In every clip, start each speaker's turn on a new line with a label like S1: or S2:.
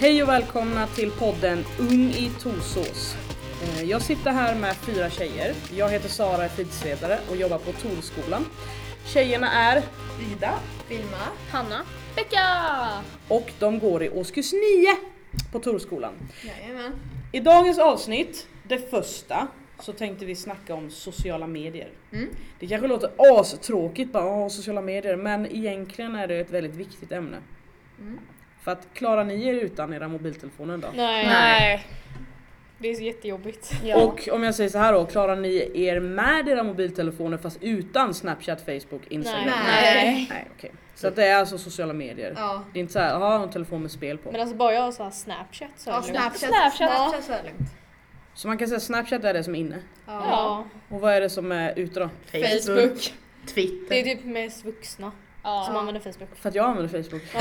S1: Hej och välkomna till podden Ung i Torsås. Eh, Jag sitter här med fyra tjejer. Jag heter Sara, är fritidsledare och jobbar på Torskolan. Tjejerna är Ida
S2: Vilma.
S3: Hanna. Becka!
S1: och de går i årskurs 9 på Torskolan.
S2: Jajamän.
S1: I dagens avsnitt, det första, så tänkte vi snacka om sociala medier.
S2: Mm.
S1: Det kanske låter astråkigt bara, "Åh, sociala medier, men egentligen är det ett väldigt viktigt ämne.
S2: Mm.
S1: För att klarar ni er utan era mobiltelefoner då?
S3: Nej.
S2: Nej.
S3: Det är så jättejobbigt.
S1: Och om jag säger så här då, klarar ni er med era mobiltelefoner fast utan Snapchat, Facebook, Instagram?
S3: Nej.
S2: Nej.
S1: Nej, okej. Så att det är alltså sociala medier?
S2: Ja.
S1: Det är inte så här, jaha, en telefon med spel på.
S3: Men alltså bara jag har så här Snapchat så är
S2: Ja,
S3: det
S2: Snapchat.
S3: lugnt. Snapchat.
S2: Snapchat så är det lugnt.
S1: Så man kan säga Snapchat är det som är inne.
S2: Ja.
S3: Ja.
S1: Och vad är det som är ute då?
S3: Facebook.
S4: Twitter.
S3: Det är typ mest vuxna som använder Facebook.
S1: För att jag använder Facebook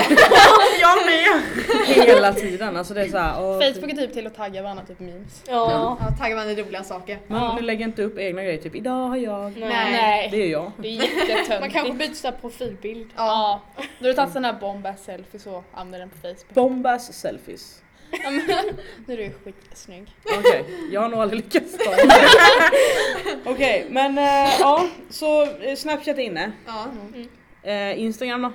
S4: Jag med!
S1: hela tiden. Alltså det är så här, åh,
S5: Facebook är typ till att tagga varandra, typ memes.
S3: Ja.
S2: Ja, taggar man i roliga saker.
S1: Man lägger inte upp egna grejer, typ idag har jag.
S2: Nej.
S1: Det är jag.
S5: Det är jättetöntigt.
S3: Man kanske byter så här profilbild.
S5: Ja. Då har du tagit sån här bomba-selfie så använder den på Facebook.
S1: Bombas selfies.
S5: Ja, men, nu är du skitsnygg.
S1: Okej, jag har nog aldrig lyckats ta det. Okej, men eh, ja, så eh, Snapchat är inne.
S2: Ja.
S5: Mm.
S1: Eh, Instagram då?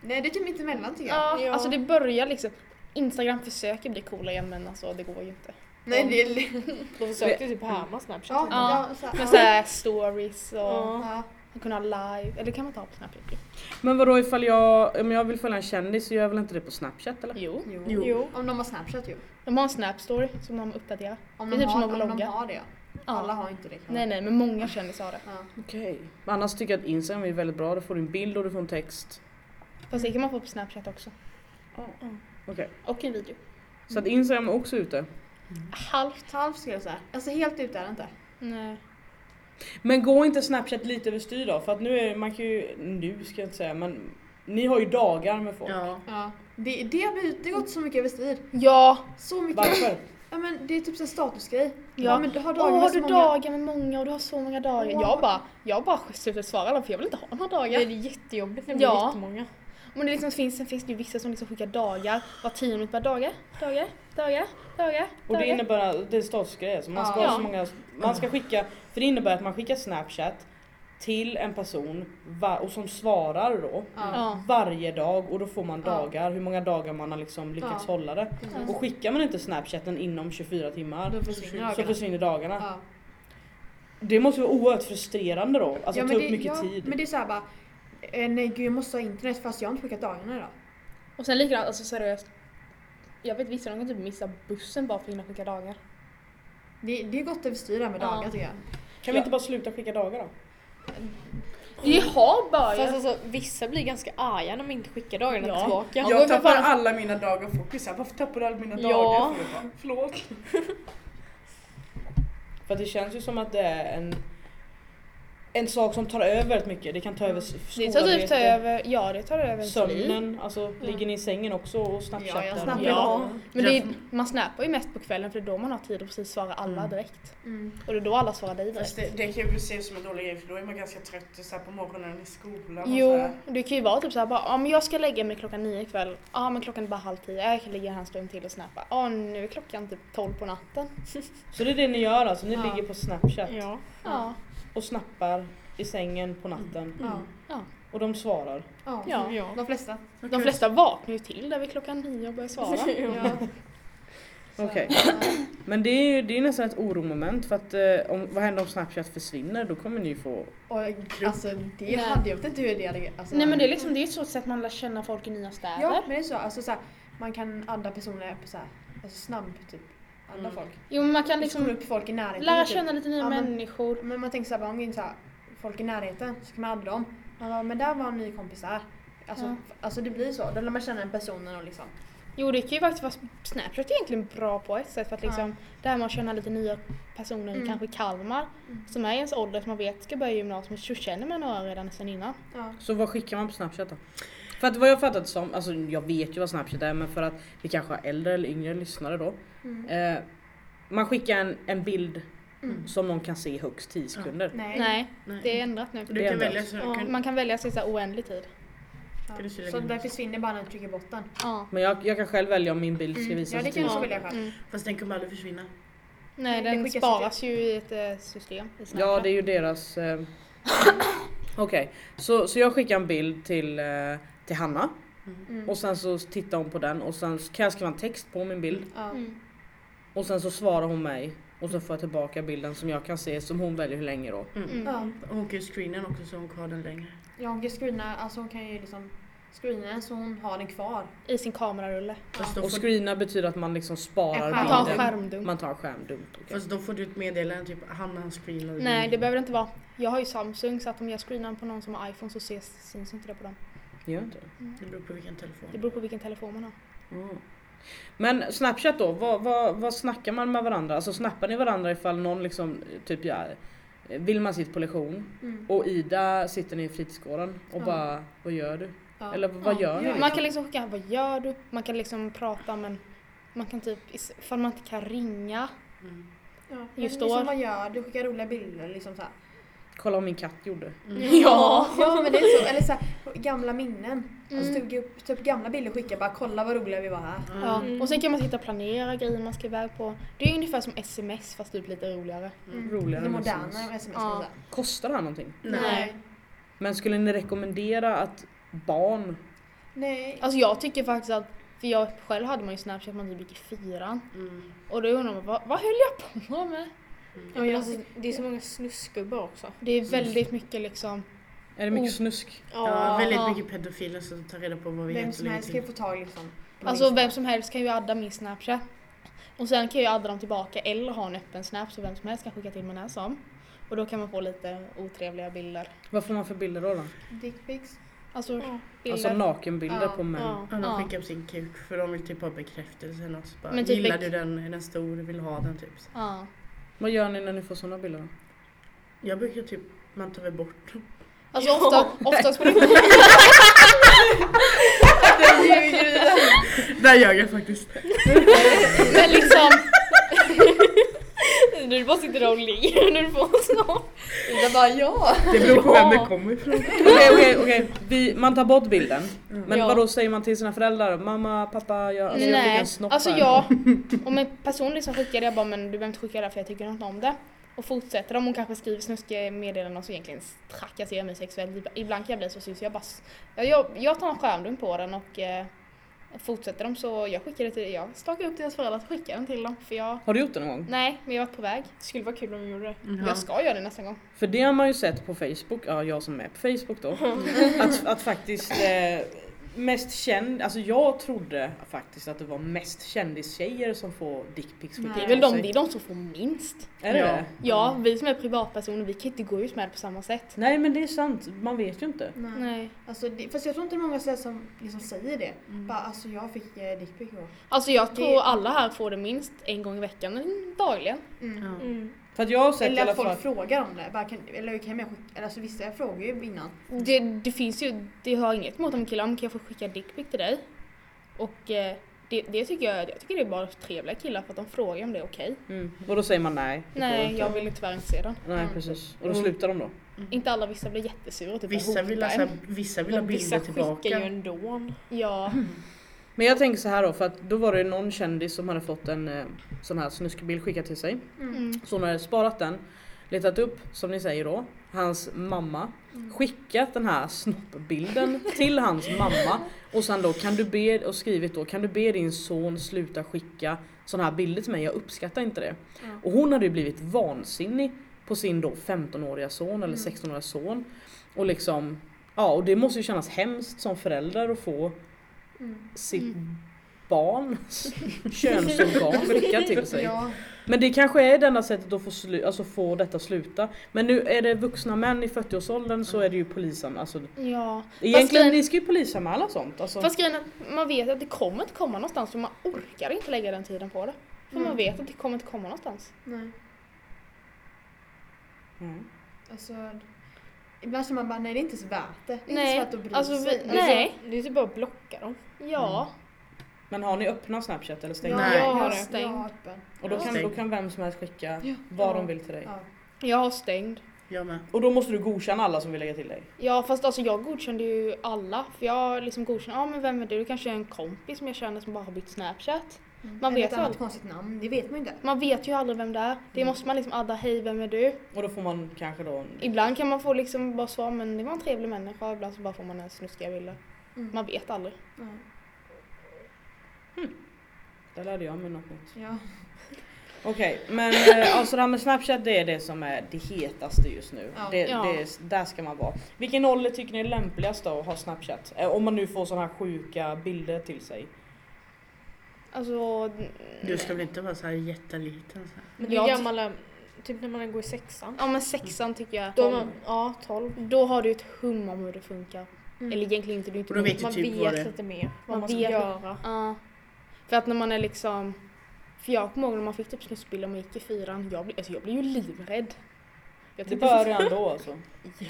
S2: Nej, det är typ mittemellan tycker jag.
S5: Ja,
S3: Ja.
S5: alltså det börjar liksom. Instagram försöker bli coola igen men alltså det går ju inte.
S2: Nej, det är...
S3: De försökte typ härma Snapchat.
S2: Ja, ja. så,
S5: Med
S2: här-
S5: såhär stories och
S3: Ja.
S2: ja.
S5: man kunde ha live, eller kan man ta på Snapchat?
S1: Men vadå ifall jag, om jag vill följa en kändis så gör jag väl inte det på snapchat eller?
S5: Jo.
S2: Jo.
S4: Jo.
S3: Jo.
S2: Om de har Snapchat ju.
S5: De har en Snap-story som de uppdaterar.
S2: Om
S5: Det är
S2: de,
S5: typ
S2: har,
S5: som att
S2: om de
S5: vlogga.
S2: har det. Alla har inte det. kanske.
S5: Nej nej men många kändisar har det.
S2: Ja.
S1: Okej. Annars tycker jag att Instagram är väldigt bra, du får du en bild och du får en text.
S5: Fast det kan man få på Snapchat också.
S1: Okej.
S5: Och en video.
S1: Så att Instagram är också ute.
S5: Halvt.
S2: Halvt skulle jag säga. Alltså helt ute är det inte.
S5: Nej.
S1: Men går inte Snapchat lite överstyr då? För att nu är man kan ju, nu ska jag inte säga men ni har ju dagar med folk.
S4: Ja.
S2: Ja. Det, det har blivit- det har gått så mycket överstyr.
S5: Ja!
S2: Så mycket.
S1: Varför?
S2: Ja men det är typ så här statusgrej.
S5: Ja.
S2: men du har
S5: Åh,
S2: dagar med
S5: har
S2: så
S5: du
S2: många.
S5: dagar med många och du har så många dagar.
S2: Wow.
S5: Jag bara, jag bara slutade svara alla för jag vill inte ha några dagar.
S3: Det är jättejobbigt när det blir
S5: Ja.
S3: jättemånga.
S5: Men det liksom finns, sen finns det ju vissa som liksom skickar dagar. Var tionde minut bara dagar, dagar, dagar, dagar,
S1: Och det
S5: dagar.
S1: innebär att det är statusgrejer, så Alltså, man ska
S2: Ja.
S1: ha så många, man ska skicka, för det innebär att man skickar snapchat till en person va- och som svarar då
S2: Ja.
S5: Ja.
S1: varje dag och då får man
S2: Ja.
S1: dagar, hur många dagar man har liksom lyckats
S2: Ja.
S1: hålla det.
S2: precis.
S1: Och skickar man inte snapchatten inom 24 timmar
S2: Då försvinner
S1: så
S2: dagarna.
S1: försvinner dagarna.
S2: Ja.
S1: Det måste vara oerhört frustrerande då, alltså ta upp mycket
S2: ja,
S1: tid.
S2: Men det är såhär bara, eh, nej gud jag måste ha internet fast jag har inte skickat dagarna idag.
S5: Och sen likadant, alltså seriöst. Jag vet vissa de kan typ missa bussen bara för att hinna skicka dagar.
S2: Det, det är gott överstyr det här med
S5: Ja.
S2: dagar tycker jag.
S1: Kan vi inte bara sluta skicka dagar då?
S5: Det har
S3: Fast
S5: börjat.
S3: alltså vissa blir ganska arga när man inte skickar dagarna
S5: Ja.
S3: tillbaka.
S5: Ja.
S4: Jag
S5: men för
S4: tappar
S5: fan-
S4: alla mina dagar och fokus. Jag, Varför tappar du alla mina
S3: Ja.
S4: dagar? För jag bara, Förlåt.
S1: För att det känns ju som att det är en, en sak som tar över väldigt mycket, det kan ta över s-
S5: Det tar typ ta
S1: skolarbete.
S5: över, ja det tar över ens liv.
S1: Sömnen, alltså ligger ni i sängen också och snapchattar?
S2: Ja, jag snappar
S5: Ja.
S2: ja.
S5: Men det är, man snappar ju mest på kvällen för det är då man har tid att precis svara alla direkt.
S2: Mm.
S5: Och det är då alla svarar dig direkt.
S4: Fast det, det kan ju ses som en dålig grej för då är man ganska trött och så här på morgonen i skolan och så
S5: Jo,
S4: här.
S5: det kan ju vara typ såhär bara, ja men jag ska lägga mig klockan nio ikväll. Ja men klockan är bara halv tio, jag kan ligga här en stund till och snappa. Ja nu är klockan typ tolv på natten.
S1: Så det är det ni gör alltså, ni
S2: Ja.
S1: ligger på snapchat
S3: Ja.
S5: Ja.
S1: och snappar i sängen på natten
S2: Ja.
S1: och de svarar.
S2: Ja.
S5: Mm. Ja.
S3: Ja.
S2: De flesta.
S5: De flesta vaknar ju till där vid klockan nio och börjar svara.
S2: Ja. Så.
S1: Okej.
S2: Ja.
S1: Men det är ju det är nästan ett oromoment för att eh, om, vad händer om snapchat försvinner? Då kommer ni få...
S2: Och alltså det
S5: Nej.
S2: hade jag vet inte hur det hade... Alltså,
S5: Nej men det är liksom, det är ett så sätt man lär känna folk i nya städer.
S2: Ja men det är så, alltså såhär, man kan adda personer på såhär, alltså snabb typ. Adda
S4: Mm.
S2: folk.
S5: Jo men man kan
S2: Man liksom
S5: liksom
S2: upp folk i närheten.
S5: lära
S2: typ.
S5: känna lite nya
S2: Ja, men-
S5: människor.
S2: Men man tänker såhär, bara, om det är så här, folk i närheten så kan man adda dem. Man bara, men där var en ny kompis där. Alltså,
S5: Ja.
S2: f- alltså det blir så, då lär man känna den personen och liksom.
S5: Jo det kan ju faktiskt vara, Snapchat är egentligen bra på ett sätt för att
S2: Ja.
S5: liksom, det här med att känna lite nya personer,
S2: Mm.
S5: kanske i Kalmar,
S2: Mm.
S5: som är i ens ålder som man vet ska börja gymnasiet, så känner man några redan sedan innan.
S2: Ja.
S1: Så vad skickar man på snapchat då? För att vad jag fattat som, alltså jag vet ju vad snapchat är men för att vi kanske har äldre eller yngre lyssnare då.
S2: Mm.
S1: Eh, man skickar en, en bild
S2: Mm.
S1: som någon kan se i högst 10 sekunder.
S2: Nej.
S5: Nej,
S4: Nej.
S5: det är ändrat nu.
S4: Du
S1: Det är
S4: kan
S1: ändå-
S4: välja så du
S5: Ja,
S4: kan...
S5: Man kan välja sig så här oändlig tid.
S4: Ska du kyla
S2: Så
S4: ner
S2: den
S4: den?
S2: försvinner bara när du trycker bort den.
S5: Ja.
S1: Men jag, jag kan själv välja om min bild ska visas.
S2: Mm. Ja, det
S1: i
S2: kan
S1: tidningen.
S2: du också välja själv.
S5: Mm.
S4: Fast den kommer aldrig försvinna.
S5: Nej,
S2: Det
S5: den
S2: skickas typ-
S5: sparas ju i ett eh, system. i Snapchat.
S1: Ja, det är ju deras... Eh... Okej, så, så jag skickar en bild till, eh, till Hanna.
S2: Mm.
S1: Och sen så tittar hon på den och sen kan jag skriva en text på min bild.
S2: Ja.
S5: Mm.
S1: Och sen så svarar hon mig. Och så får jag tillbaka bilden som jag kan se som hon väljer hur länge då.
S4: Mm.
S5: Mm.
S2: Ja.
S4: Hon kan ju screena den också så hon har den längre.
S2: ja, hon kan screena, alltså hon kan ju liksom screena den så hon har den kvar.
S5: I sin kamerarulle.
S4: Fast, då
S1: Och
S4: får,
S1: screena betyder att man liksom sparar
S2: En
S5: Man tar en
S1: bilden.
S5: skärmdump.
S1: Man tar en skärmdump. okej.
S4: fast då får du ett meddelande typ Hanna screenade din
S5: Nej, det
S4: bild."
S5: behöver det inte vara. Jag har ju Samsung så att om jag screenar på någon som har iPhone så ses, syns inte det på dem.
S1: Gör inte det.
S4: det beror på vilken telefon.
S5: Det beror på vilken telefon man har.
S1: Mm. Men Snapchat då, vad, vad, vad snackar man med varandra? Alltså snappar ni varandra ifall någon liksom, typ ja, Vilma sitter på lektion
S2: Mm.
S1: och Ida sitter nere i fritidsgården och
S2: Ja.
S1: bara vad gör du?
S2: Ja.
S1: Eller vad
S5: Ja.
S1: gör ni?
S2: Ja.
S1: liksom?
S5: Man kan liksom skicka vad gör du? Man kan liksom prata men man kan typ, ifall man inte kan ringa.
S4: Mm.
S2: Ja.
S5: Just
S2: Men liksom,
S5: då.
S2: vad gör du? Skickar roliga bilder liksom så här.
S1: Kolla vad min katt gjorde.
S5: Ja!
S2: Ja men det är så, eller så här, gamla minnen.
S5: Mm.
S2: Alltså tog upp typ gamla bilder och skicka bara kolla vad roliga vi var här.
S5: ja.
S3: Mm.
S5: Och sen kan man sitta och planera grejer man ska iväg på. Det är ungefär som sms fast typ lite roligare.
S2: Mm.
S1: Roligare
S2: Det
S1: än
S2: moderna
S1: SMS.
S2: sms. sms
S5: Ja.
S2: ja.
S1: Kostar det här någonting?
S4: Nej.
S1: Men skulle ni rekommendera att barn...
S2: Nej.
S5: Alltså jag tycker faktiskt att, för jag själv hade man ju Snapchat man typ gick i fyran.
S4: Mm.
S5: Och då undrar man vad, vad höll jag på med?
S3: Ja, men alltså, det är så många snusgubbar också.
S5: Det är väldigt mycket liksom,
S1: Är det mycket
S5: Oh.
S1: snusk?
S4: Ja,
S5: Ja.
S4: väldigt mycket pedofiler som tar reda på vad vi
S2: Vem
S4: heter
S2: som
S4: och
S2: helst kan
S4: lägger
S2: ju få tag liksom. på
S5: alltså
S2: min-
S5: vem som helst kan ju adda min Snapchat. Och sen kan jag adda dem tillbaka eller ha en öppen Snap så vem som helst kan skicka till mig när som. Och då kan man få lite otrevliga bilder.
S1: Vad får man för bilder då? då?
S2: Dickpics.
S5: Alltså bilder.
S1: Alltså nakenbilder
S2: Ja.
S1: på män.
S3: Ja.
S4: till. Ja,
S5: Ja.
S4: de skickar upp sin kuk för de vill typ ha bekräftelse eller något. Så Bara,
S5: Men typ
S4: Gillar
S5: bek-
S4: du den? Är den stor? Vill du ha den? Typ. Så.
S5: ja.
S1: Vad gör ni när ni får sådana bilder? Då?
S4: Jag brukar typ, man tar väl bort dem.
S5: Alltså ofta, oftast på det.
S4: Där gör jag faktiskt.
S5: Men liksom,
S3: Du bara sitter där och ler när du får en sån.
S2: Ida bara ja.
S4: Det beror på vem det kommer ifrån.
S1: Okej, okej, okej. Vi- Man tar bort bilden.
S5: Mm.
S1: Men
S3: Ja.
S1: vadå säger man till sina föräldrar? Mamma, pappa, jag, alltså, jag fick
S5: nej.
S1: en snopp
S5: Alltså
S1: här.
S5: jag, om en person liksom skickar det jag bara men du behöver inte skicka det här för jag tycker inte om det. Och fortsätter de, hon kanske skriver snuskiga meddelanden som egentligen trakasserar mig sexuellt. Ib- Ibland kan jag bli så sur så jag bara, s- jag- jag, jag tar en skärmdump på den och eh, fortsätter de så jag skickar det till, jag stakar upp deras föräldrar och skickar den till dem för jag,
S1: Har du gjort det någon gång?
S5: nej men jag har varit på väg.
S3: Det skulle vara kul om vi gjorde det.
S5: Jag ska göra det nästa gång.
S1: För det har man ju sett på Facebook, ja jag som är på Facebook då. att, att faktiskt eh, mest känd, alltså jag trodde faktiskt att det var mest kändistjejer som får dickpics
S2: Nej.
S1: skickade
S5: Det är
S1: av
S5: väl de,
S1: sig.
S5: det är de som får minst.
S1: Är det
S4: Ja.
S1: det?
S5: Ja, vi som är privatpersoner vi kan inte gå ut med det på samma sätt.
S1: Nej men det är sant, man vet ju inte.
S2: Nej.
S5: Nej.
S2: Alltså, det, fast jag tror inte det är många ställen som liksom säger det.
S5: Mm.
S2: Bara alltså jag fick eh, dickpic igår.
S5: Alltså jag tror
S2: Det-
S5: alla här får det minst en gång i veckan, men dagligen.
S2: Mm.
S4: Ja.
S1: För att jag har sett i
S2: Eller
S1: alla
S2: att folk
S1: fall.
S2: frågar om det. Bara, kan, eller kan jag skicka, eller, alltså, vissa jag frågar ju innan.
S5: Det, det finns ju, det har inget emot om killar, om kan jag få skicka dickpic till dig? Och eh, det, det tycker jag, jag tycker det är bara trevliga killar för att de frågar om det är okej.
S1: Mm. Och då säger man nej. det får du
S5: Nej,
S1: inte.
S5: jag vill ju tyvärr inte se den.
S1: Nej
S2: Mm.
S1: precis. Och då
S4: Mm.
S1: slutar de då.
S5: Inte alla, vissa blir jättesura och typ
S4: Vissa vill, ha,
S5: hotar
S4: så
S5: en.
S4: här- vissa vill ha
S3: Men
S4: bilder
S3: vissa skickar ju
S4: tillbaka.
S3: ändå.
S5: Ja,
S1: Men jag tänker så här då, för att då var det ju någon kändis som hade fått en eh, sån här snuskbild skickad till sig.
S5: mm.
S1: Så hon hade sparat den, letat upp, som ni säger då, hans mamma. Skickat den här snoppbilden till hans mamma. Och sen då kan du be, och skrivit då, kan du be din son sluta skicka såna här bilder till mig? Jag uppskattar inte det.
S2: Ja.
S1: Och hon hade ju blivit vansinnig på sin då 15-åriga son eller
S2: Mm.
S1: 16-åriga son. Och liksom, ja och det måste ju kännas hemskt som förälder att få
S2: Mm.
S1: sitt
S5: Mm.
S1: barns könsorgan skickat till sig.
S2: Ja.
S1: Men det kanske är det enda sättet att få, slu- alltså få detta sluta. Men nu är det vuxna män i 40-årsåldern så är det ju polisen. Alltså,
S5: ja.
S1: egentligen,
S5: grejen-
S1: ni ska ju polisanmäla sånt. Alltså.
S5: Fast grejen är att man vet att det kommer inte komma någonstans för man orkar inte lägga den tiden på det. För man
S2: Mm.
S5: vet att det kommer inte komma någonstans.
S2: Nej.
S1: Mm.
S2: Alltså, ibland känner man bara nej det är inte så värt det. Det är
S5: Nej,
S2: inte så värt att bry
S5: alltså,
S2: sig.
S5: vi-
S2: Men
S5: nej.
S3: Det är så- Det är typ bara att blocka dem.
S1: Mm.
S5: Ja.
S1: Men har ni öppna Snapchat eller stängda?
S2: jag-
S4: Nej.
S2: jag
S5: har
S2: har
S5: det.
S2: stängt. Jag har öppen.
S1: Och då kan,
S4: Stäng.
S1: då kan vem som helst skicka
S2: Ja.
S1: vad de vill till dig.
S2: Ja.
S5: Jag har stängd.
S4: Jag med.
S1: Och då måste du godkänna alla som vill lägga till dig.
S5: Ja fast alltså jag godkände ju alla för jag liksom godkände, ja ah, men vem är du? Du kanske är en kompis som jag känner som bara har bytt snapchat. Man
S2: Eller
S5: vet
S2: ett
S5: ju
S2: annat
S5: aldrig.
S2: konstigt namn, det vet man ju inte.
S5: Man vet ju aldrig vem det är.
S3: Mm.
S5: Det måste man liksom adda, hej vem är du?
S1: Och då får man kanske då...
S5: Ibland kan man få liksom bara svar men det var en trevlig människa. Ibland så bara får man en snuskiga bilder.
S2: Mm.
S5: Man vet aldrig.
S2: Ja.
S1: Där lärde jag mig något nytt.
S2: Ja.
S1: Okej, men eh, alltså det här med Snapchat det är det som är det hetaste just nu.
S2: Ja.
S1: Det,
S5: Ja.
S1: det, är- där ska man vara. Vilken ålder tycker ni är lämpligast då att ha Snapchat? Eh, Om man nu får sådana här sjuka bilder till sig.
S5: Alltså...
S4: Du ska väl inte vara så här jätteliten så här.
S3: Men det
S5: Jag
S3: är
S5: ty-
S3: gamla, typ när man går i sexan.
S5: Ja men sexan tycker jag.
S3: Då är man, ja, tolv.
S5: Då har du ett hum om hur det funkar.
S2: Mm.
S5: Eller egentligen inte, du är inte
S4: Och då
S5: dum.
S4: vet du
S3: Man
S4: typ vad det
S3: vet
S4: är.
S3: lite mer vad
S5: Man
S3: man, ska
S5: vet.
S3: göra.
S5: Ja. För att när man är liksom... För jag kommer ihåg när man fick typ snuskbilder och man gick i fyran. Jag blev, alltså jag blev ju livrädd. Jag typ
S1: Det
S5: tyckte-
S1: började ändå alltså.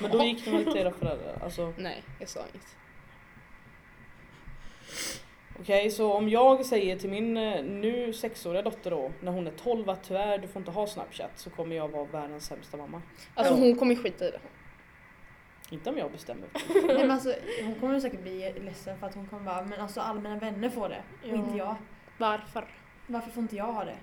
S1: Men då gick de väl till era föräldrar? Alltså,
S5: Nej, jag sa inget.
S1: Okej, så om jag säger till min eh, nu sexåriga dotter då, när hon är 12 att tyvärr du får inte ha Snapchat så kommer jag vara världens sämsta mamma.
S5: Alltså
S1: Ja.
S5: hon kommer ju skita i det.
S1: Inte om jag bestämmer.
S2: Nej, men alltså, hon kommer säkert bli ledsen för att hon kommer bara, men alltså alla mina vänner får det och
S3: Ja.
S2: inte jag.
S5: Varför?
S2: Varför får inte jag ha det?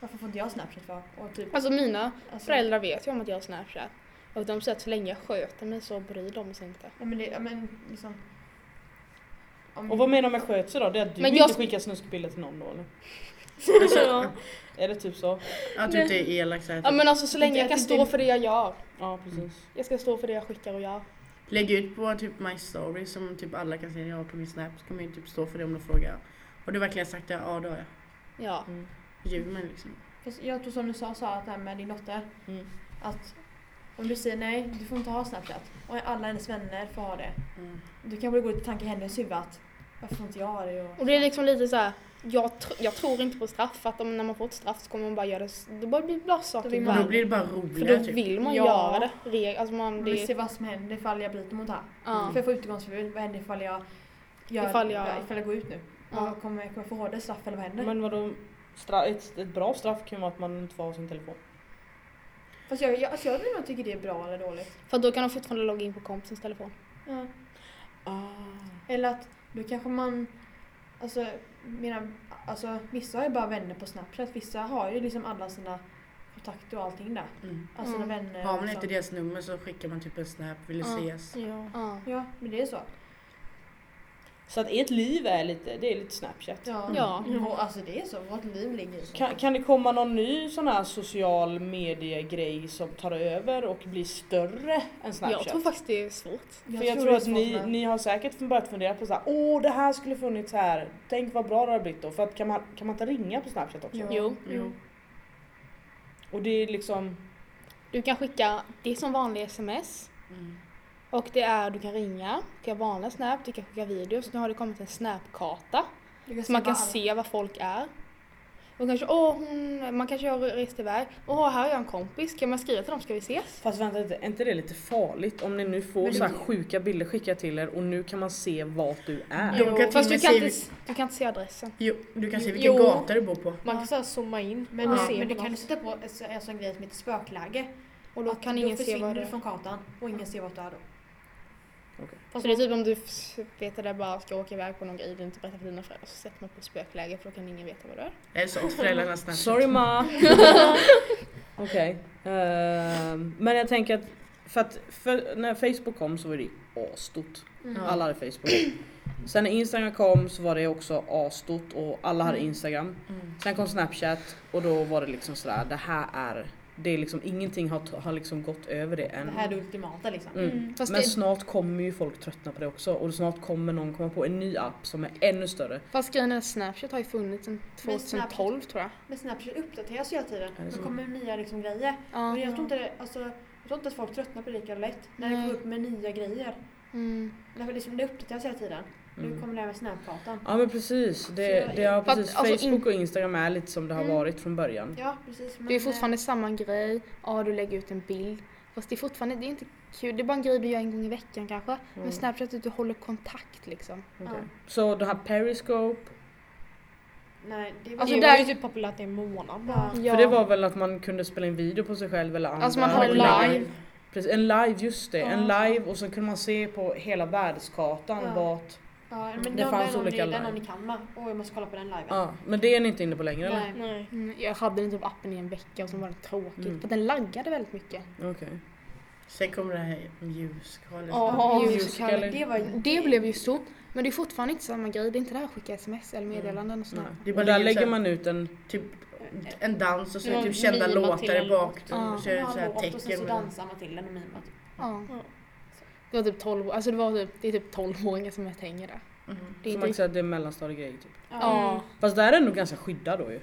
S2: Varför får inte jag Snapchat för? Och typ,
S5: Alltså mina
S2: alltså,
S5: föräldrar vet ju om att jag har Snapchat. Och de säger att så länge jag sköter mig så bryr de sig inte.
S2: Nej men det, ja, men liksom. Om,
S1: Och vad menar du med sköt sig då? Det är att du
S5: Men
S1: inte
S5: jag-
S1: skickar snuskbilder till någon då eller?
S3: Ja.
S1: Är det typ så?
S4: Att du Alltså, inte är elak så här.
S5: Ja men alltså så länge
S2: Inte
S5: jag kan
S2: att
S5: stå
S2: det-
S5: för det jag gör.
S1: Ja precis.
S5: Jag ska stå för det jag skickar och gör.
S4: Lägg ut på typ my story som typ alla kan se när jag har på min snap så kommer jag typ stå för det om de frågar. Har du verkligen sagt det? Ja det har jag.
S5: Ja.
S1: Mm.
S4: Ljuger man liksom.
S2: fast jag tror som du sa, sa att det här med din dotter.
S1: Mm.
S2: Att om du säger nej, du får inte ha Snapchat. Och alla hennes vänner får ha det.
S4: Mm.
S2: Du kanske går ut i tanke i hennes huvud att varför får inte jag ha det?
S5: Och det är liksom lite så här. Jag, tr- jag tror inte på straff, för att om, när man får ett straff så kommer man bara göra det, s- det bara blir bra saker.
S2: Då vill
S5: i
S2: man-
S5: världen.
S4: Då blir det bara
S5: Mm. För
S4: roligare
S5: då
S4: typ.
S5: vill man
S3: Ja.
S5: göra det. Re- alltså man,
S2: Man vill se
S5: det
S2: vad som händer ifall jag bryter mot det här.
S5: ja.
S2: Får jag få utegångsförbud? Vad händer ifall jag, gör,
S5: Ifall jag-
S2: ifall jag går ut nu?
S5: Ja.
S2: Vad Kommer, kommer jag få hårdare straff eller vad händer?
S1: Men vadå? Stra- ett, ett bra straff kan ju vara att man inte får ha sin telefon.
S2: Fast jag, jag, alltså jag vet inte om jag tycker det är bra eller dåligt.
S5: För då kan de fortfarande logga in på kompisens telefon.
S2: Eller att då kanske man... Alltså, mina, alltså vissa har ju bara vänner på Snapchat. Vissa har ju liksom alla sina kontakter och allting där.
S4: Mm.
S2: Alltså
S5: Mm.
S2: sina vänner
S4: Har
S2: och
S4: man
S2: så.
S4: inte deras nummer så skickar man typ en snap, vill
S5: Ja.
S4: ses.
S3: ja.
S5: Ja.
S2: Ja, men det är så.
S1: Så att ert liv är lite, det är lite Snapchat.
S2: Ja.
S5: Ja.
S2: Och, alltså det är så. Vårt liv ligger i så.
S1: Kan, kan det komma någon ny sån här social mediegrej som tar över och blir större än Snapchat?
S5: Jag tror faktiskt det är svårt.
S1: För jag tror,
S2: det är
S1: att
S2: svårt
S1: ni,
S2: med-
S1: ni har säkert börjat fundera på så här, åh det här skulle funnits här, tänk vad bra det hade blivit då. För att kan man, kan man inte ringa på Snapchat också?
S2: Ja.
S5: Jo.
S4: Jo.
S1: Och det är liksom,
S5: Du kan skicka, det är som vanliga sms.
S4: Mm.
S5: Och det är, du kan ringa, du kan vanliga snap, du kan skicka videos. Nu har det kommit en snapkarta.
S2: Du kan
S5: Så man kan
S2: vad alla-
S5: se var folk är. Och kanske, åh hon, man kanske har rest iväg. Åh här är jag en kompis, kan man skriva till dem ska vi ses?
S1: fast vänta lite, är inte det lite farligt om ni nu får
S2: Men
S1: så här
S2: det-
S1: sjuka bilder skickade till er och nu kan man se vart du är?
S4: De kan till och
S5: Fast du
S4: med
S5: kan,
S4: se
S5: inte,
S4: vil-
S5: s- du kan inte se adressen.
S4: Jo, du kan se
S3: Jo.
S4: vilken gata du bor på.
S3: Man kan så här zooma in.
S2: Men,
S3: och
S5: Ja.
S3: se
S2: men du
S3: vad
S2: kan du
S3: något-
S2: sätta på en sån- en sån grej som heter spökläge.
S5: Och då
S2: Att
S5: kan ingen
S2: då
S5: se
S2: försvinner
S5: vad det
S2: du
S5: är.
S2: från kartan och ingen ser vart du är då.
S5: Så det är typ om du f- vet att du bara ska åka iväg på någon grej du inte berättar för dina föräldrar så sätter man på spökläge för då kan ingen veta vad det är.
S4: Eller så åt föräldrarna snabbt.
S1: Sorry ma! Okej. Ehm, men jag tänker att, för att för, när Facebook kom så var det asstort.
S2: Mm.
S1: Alla hade Facebook. Sen när Instagram kom så var det också asstort och alla hade Instagram.
S4: Mm.
S1: Sen kom Snapchat och då var det liksom sådär, det här är, det är liksom ingenting har, har liksom gått över det än.
S2: Det här är det ultimata liksom.
S1: Mm.
S5: Fast,
S1: Men
S5: det,
S1: snart kommer ju folk tröttna på det också och snart kommer någon komma på en ny app som är ännu större.
S5: fast grejen är att Snapchat har ju funnits sedan
S2: Men
S5: 2012 tror jag.
S2: Men Snapchat uppdateras hela tiden.
S1: Är det
S2: Då
S1: så?
S2: kommer nya liksom, grejer. Men
S5: Ja.
S2: jag tror, inte, det- alltså, jag tror inte att folk tröttnar på det lika lätt. När
S5: Nej.
S2: det kommer upp med nya grejer.
S5: Mm.
S2: Därför liksom, det uppdateras hela tiden. Nu
S1: Mm.
S2: kommer det här med Snapkartan.
S1: Ja men precis, det, det är
S5: Fast,
S1: precis
S5: alltså, in-
S1: Facebook och Instagram är lite som det har
S5: Mm.
S1: varit från början.
S2: Ja, precis. Men, eh,
S5: Det är fortfarande samma grej, ja du lägger ut en bild. Fast det är fortfarande, det är inte kul, det är bara en grej du gör en gång i veckan kanske.
S1: Mm.
S5: Men Snapchat är att du håller kontakt liksom.
S1: Okej. Så det här Periscope,
S2: eh, Nej, det var
S3: Alltså
S5: Jo.
S3: det är ju typ populärt i en månad bara.
S2: Ja.
S1: för det var väl att man kunde spela in video på sig själv eller andra.
S5: Alltså man
S1: och
S5: har det
S1: lägga
S5: live.
S1: in- Precis, en live, just det. En
S2: Ja.
S1: live och sen kunde man se på hela världskartan
S2: Ja.
S1: vart...
S2: Ja, men
S1: Det
S2: den-
S1: fanns
S2: den,
S1: olika
S2: olika Den
S1: live.
S2: har ni Kalmar. Åh, jag måste kolla på den liven.
S1: Ja, men det är ni inte inne på längre eller?
S2: Nej.
S3: Nej.
S5: Mm, jag hade den typ appen i en vecka och sen var det tråkigt
S1: Mm.
S5: för den laggade väldigt mycket.
S1: Okej.
S4: Sen kommer det här ljuskalet.
S5: Ja,
S2: Musical.ly,
S1: Musical.ly.
S2: Det var ju...
S5: Det blev ju stort. Men det är fortfarande inte samma grej. Det är inte det här att skicka sms eller meddelanden och sådär.
S1: Nej.
S4: Det är bara
S1: Och där
S4: ligger
S1: lägger
S4: så här-
S1: man ut en...
S4: Typ en dans och så
S3: Ja,
S4: typ kända
S3: mimar
S4: låtar
S3: till en
S4: i bak.
S5: Ja.
S4: Så är det så här
S2: Och sen så
S4: tecken.
S2: dansar man till den och mimar. typ.
S5: Ja. Det var typ 12 alltså det var typ, det är typ 12-åringar som mest hänger där.
S4: Mm.
S5: Det
S1: Som
S5: är inte
S1: man kan säga att det är mellanstadiegrej typ.
S5: Ja.
S1: Fast där är den nog ganska skyddad då ju.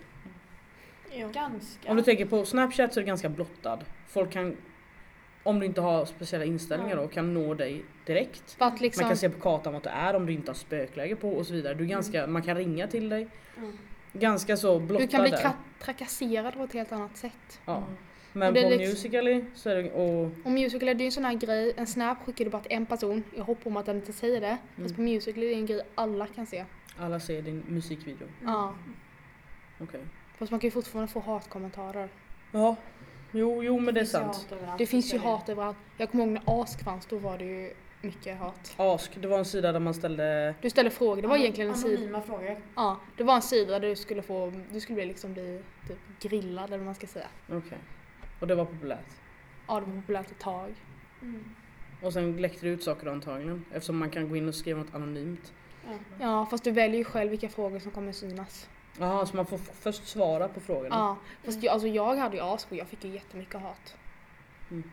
S3: Ja.
S2: Ganska.
S1: Om du tänker på Snapchat så är det ganska blottad. Folk kan, om du inte har speciella inställningar
S2: Ja.
S1: då, kan nå dig direkt.
S5: För att
S1: Man
S5: liksom,
S1: kan se på kartan vart du är om du inte har spökläge på och så vidare. Du är ganska, Man kan ringa till dig.
S2: Mm.
S1: Ganska så blottad
S5: du kan bli
S1: där.
S5: tra- trakasserad på ett helt annat sätt.
S1: Ja.
S4: Mm.
S1: Men
S5: Och det
S1: på
S5: är liksom-
S1: Musical.ly så är det, och
S5: Och Musical.ly det är ju en sån här grej, en snap skickar du bara till en person. Jag hoppar om att den inte säger det.
S1: Mm.
S5: Fast på Musical.ly är det en grej alla kan se.
S1: alla ser din musikvideo.
S5: Ja.
S1: Okej.
S5: Fast man kan ju fortfarande få hatkommentarer.
S1: Ja. Jo, jo men det är sant.
S5: Det finns ju hat överallt. Jag kommer ihåg när Ask fanns, då var det ju mycket hat.
S1: Ask, det var en sida där man ställde...
S5: Du ställer frågor, det var egentligen en sida.
S2: Anonyma frågor.
S5: Ja, det var en sida där du skulle få, du skulle bli liksom bli typ grillad eller vad man ska säga.
S1: Okej. Och det var populärt.
S5: Ja, det var populärt ett tag.
S2: Mm.
S1: Och sen läckte det ut saker antagligen eftersom man kan gå in och skriva något anonymt.
S2: Ja.
S5: Ja, fast du väljer ju själv vilka frågor som kommer synas.
S1: Jaha, så man får f- först svara på frågorna.
S5: Ja, fast jag, alltså jag hade ju ask och jag fick ju jättemycket hat.
S1: Men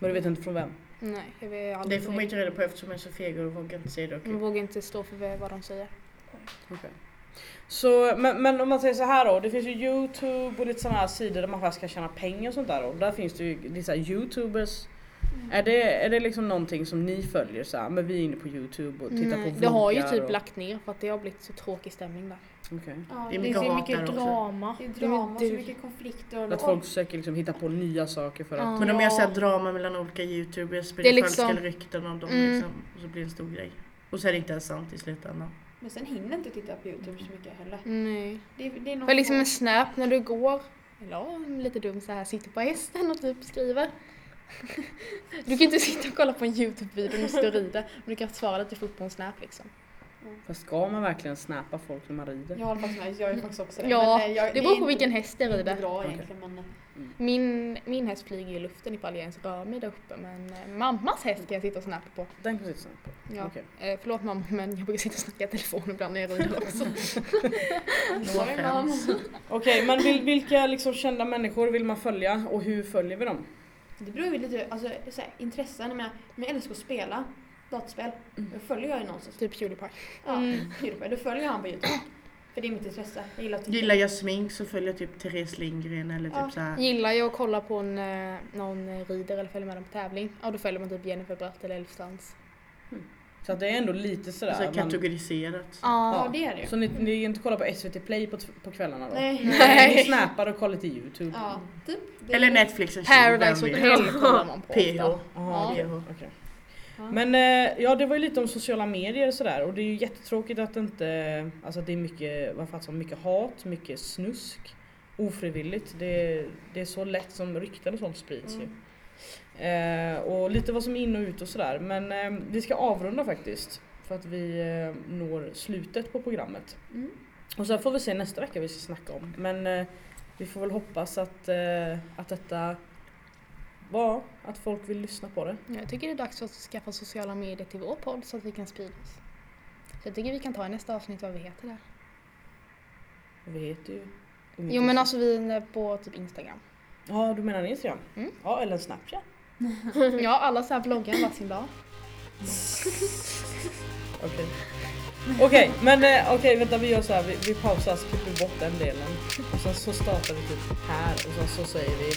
S1: du vet inte från vem?
S5: Nej, jag vet
S4: Det får man inte reda på eftersom jag är så feg och vågar inte säga det.
S5: Man
S4: okej.
S5: vågar inte stå för vad de säger.
S1: Så, men, men om man säger så här då, det finns ju Youtube och lite sådana här sidor där man faktiskt kan tjäna pengar och sånt där och där finns det ju lite så här Youtubers.
S5: Mm.
S1: Är, det, är det liksom någonting som ni följer så här, men vi är inne på Youtube och tittar
S5: Nej,
S1: på
S5: det har ju
S1: vloggar
S5: typ
S1: och...
S5: lagt ner för att det har blivit så tråkig stämning där.
S1: Okej.
S2: Ja,
S4: Det är
S2: det,
S4: mycket
S2: är
S4: hat
S2: så
S4: där
S2: mycket
S4: också.
S5: drama.
S2: det är drama, så
S5: du-
S2: mycket konflikter.
S1: Att folk försöker liksom hitta på nya saker för att...
S5: Ja.
S4: Men de gör såhär drama mellan olika youtubers,
S5: Det
S4: sprider
S5: är liksom-
S4: falska rykten om dem
S5: Mm.
S4: liksom. Och så blir det en stor grej. Och så är det inte ens sant i slutändan.
S2: Men sen hinner jag inte titta på Youtube
S4: Mm.
S2: så mycket heller.
S5: Nej.
S2: Det, det är någon
S5: För liksom en
S2: form-
S5: snap när du går, eller ja, lite dum så här, sitter på hästen och typ skriver. Du kan ju inte sitta och kolla på en Youtube-video när du står och rider, men du kan svara lite fort på en snap liksom.
S1: Fast ska man verkligen snappa folk när man rider?
S2: Jag håller faktiskt med, jag är faktiskt också det.
S5: Ja,
S2: Men, eh, jag,
S5: Det beror på
S2: är
S5: vilken häst jag
S2: inte- inte
S5: rider.
S2: bra
S1: Okej.
S2: egentligen men... eh,
S5: Min, min häst flyger i luften ifall jag ens rör mig där uppe, men eh, mammas häst kan jag sitta och snappa på.
S1: Den kan sitta snabbt på.
S5: Ja.
S1: Okej.
S5: Eh, förlåt mamma, men jag brukar sitta och snacka i telefon ibland när jag rider också.
S2: Sorry mom.
S1: Okej, men vil, vilka liksom kända människor vill man följa och hur följer vi dem?
S2: Det beror ju lite alltså, så här, intressen. Jag menar, men jag älskar att spela dataspel.
S4: Mm.
S2: Då följer jag ju någon som
S5: typ Pewdiepie.
S2: ja,
S5: Mm.
S2: Youtube. Då följer jag han på Youtube. För det är mitt intresse. Jag gillar att titta.
S4: Gillar jag smink så följer jag typ Therese Lindgren eller typ
S2: Ja.
S4: såhär.
S5: Gillar jag att kolla på en, eh, någon rider eller följer med dem på tävling, ja då följer man typ Jennifer Bratt eller Elfstrands.
S1: Så att det är ändå lite
S4: Så
S1: sådär.
S4: här
S1: man-
S4: kategoriserat.
S2: Ja, det är det ju.
S1: Så ni, ni inte kollar på SVT Play på, t- på kvällarna då?
S2: Nej.
S1: Eh, Ni
S5: Nej.
S1: snappar och kollar till Youtube?
S2: Ja, typ. Det-
S4: Eller Netflix och
S5: Paradise Hotel kollar man på
S4: PH.
S5: ofta.
S1: Aha,
S5: Ja.
S1: okej, okej.
S5: Ja.
S1: Men eh, ja, det var ju lite om sociala medier och sådär och det är ju jättetråkigt att det inte, alltså att det är mycket, vad fattar mycket hat, mycket snusk. Ofrivilligt. Det, det är så lätt som rykten och sånt
S2: Mm.
S1: sprids
S4: typ.
S5: Mm.
S1: ju. Eh, och lite vad som är in och ut och sådär. Men eh, vi ska avrunda faktiskt. För att vi eh, når slutet på programmet.
S2: Mm.
S1: Och sen får vi se nästa vecka vad vi ska snacka om. Men eh, vi får väl hoppas att, eh, att detta var, att folk vill lyssna på det.
S5: Jag tycker det är dags för oss att skaffa sociala medier till vår podd så att vi kan sprida oss. Så jag tycker vi kan ta i nästa avsnitt vad vi heter där.
S1: Och vi heter ju
S5: Jo men alltså vi är på typ Instagram.
S1: Ja, du menar Instagram?
S5: Mm.
S1: Ja, eller Snapchat.
S5: Ja alla så här bloggar varsin dag.
S1: Okej. Okej, men eh, okej vänta vi gör så här. Vi, vi pausar så klipper vi bort den delen. Och sen så startar vi typ här och sen så säger vi...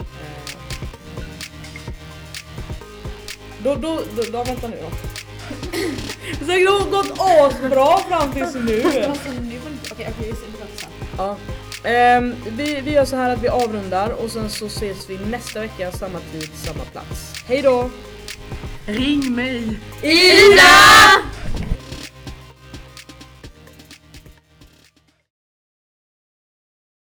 S1: Eh, då, då, då, då, vänta nu då. Så det har gått asbra fram tills nu.
S2: Alltså, nu var det inte- Okej, okej, vi ser tillbaka sen.
S1: Ja. Ehm, vi, vi gör så här att vi avrundar och sen så ses vi nästa vecka samma tid, samma plats. Hej då!
S4: Ring mig!
S1: Ida!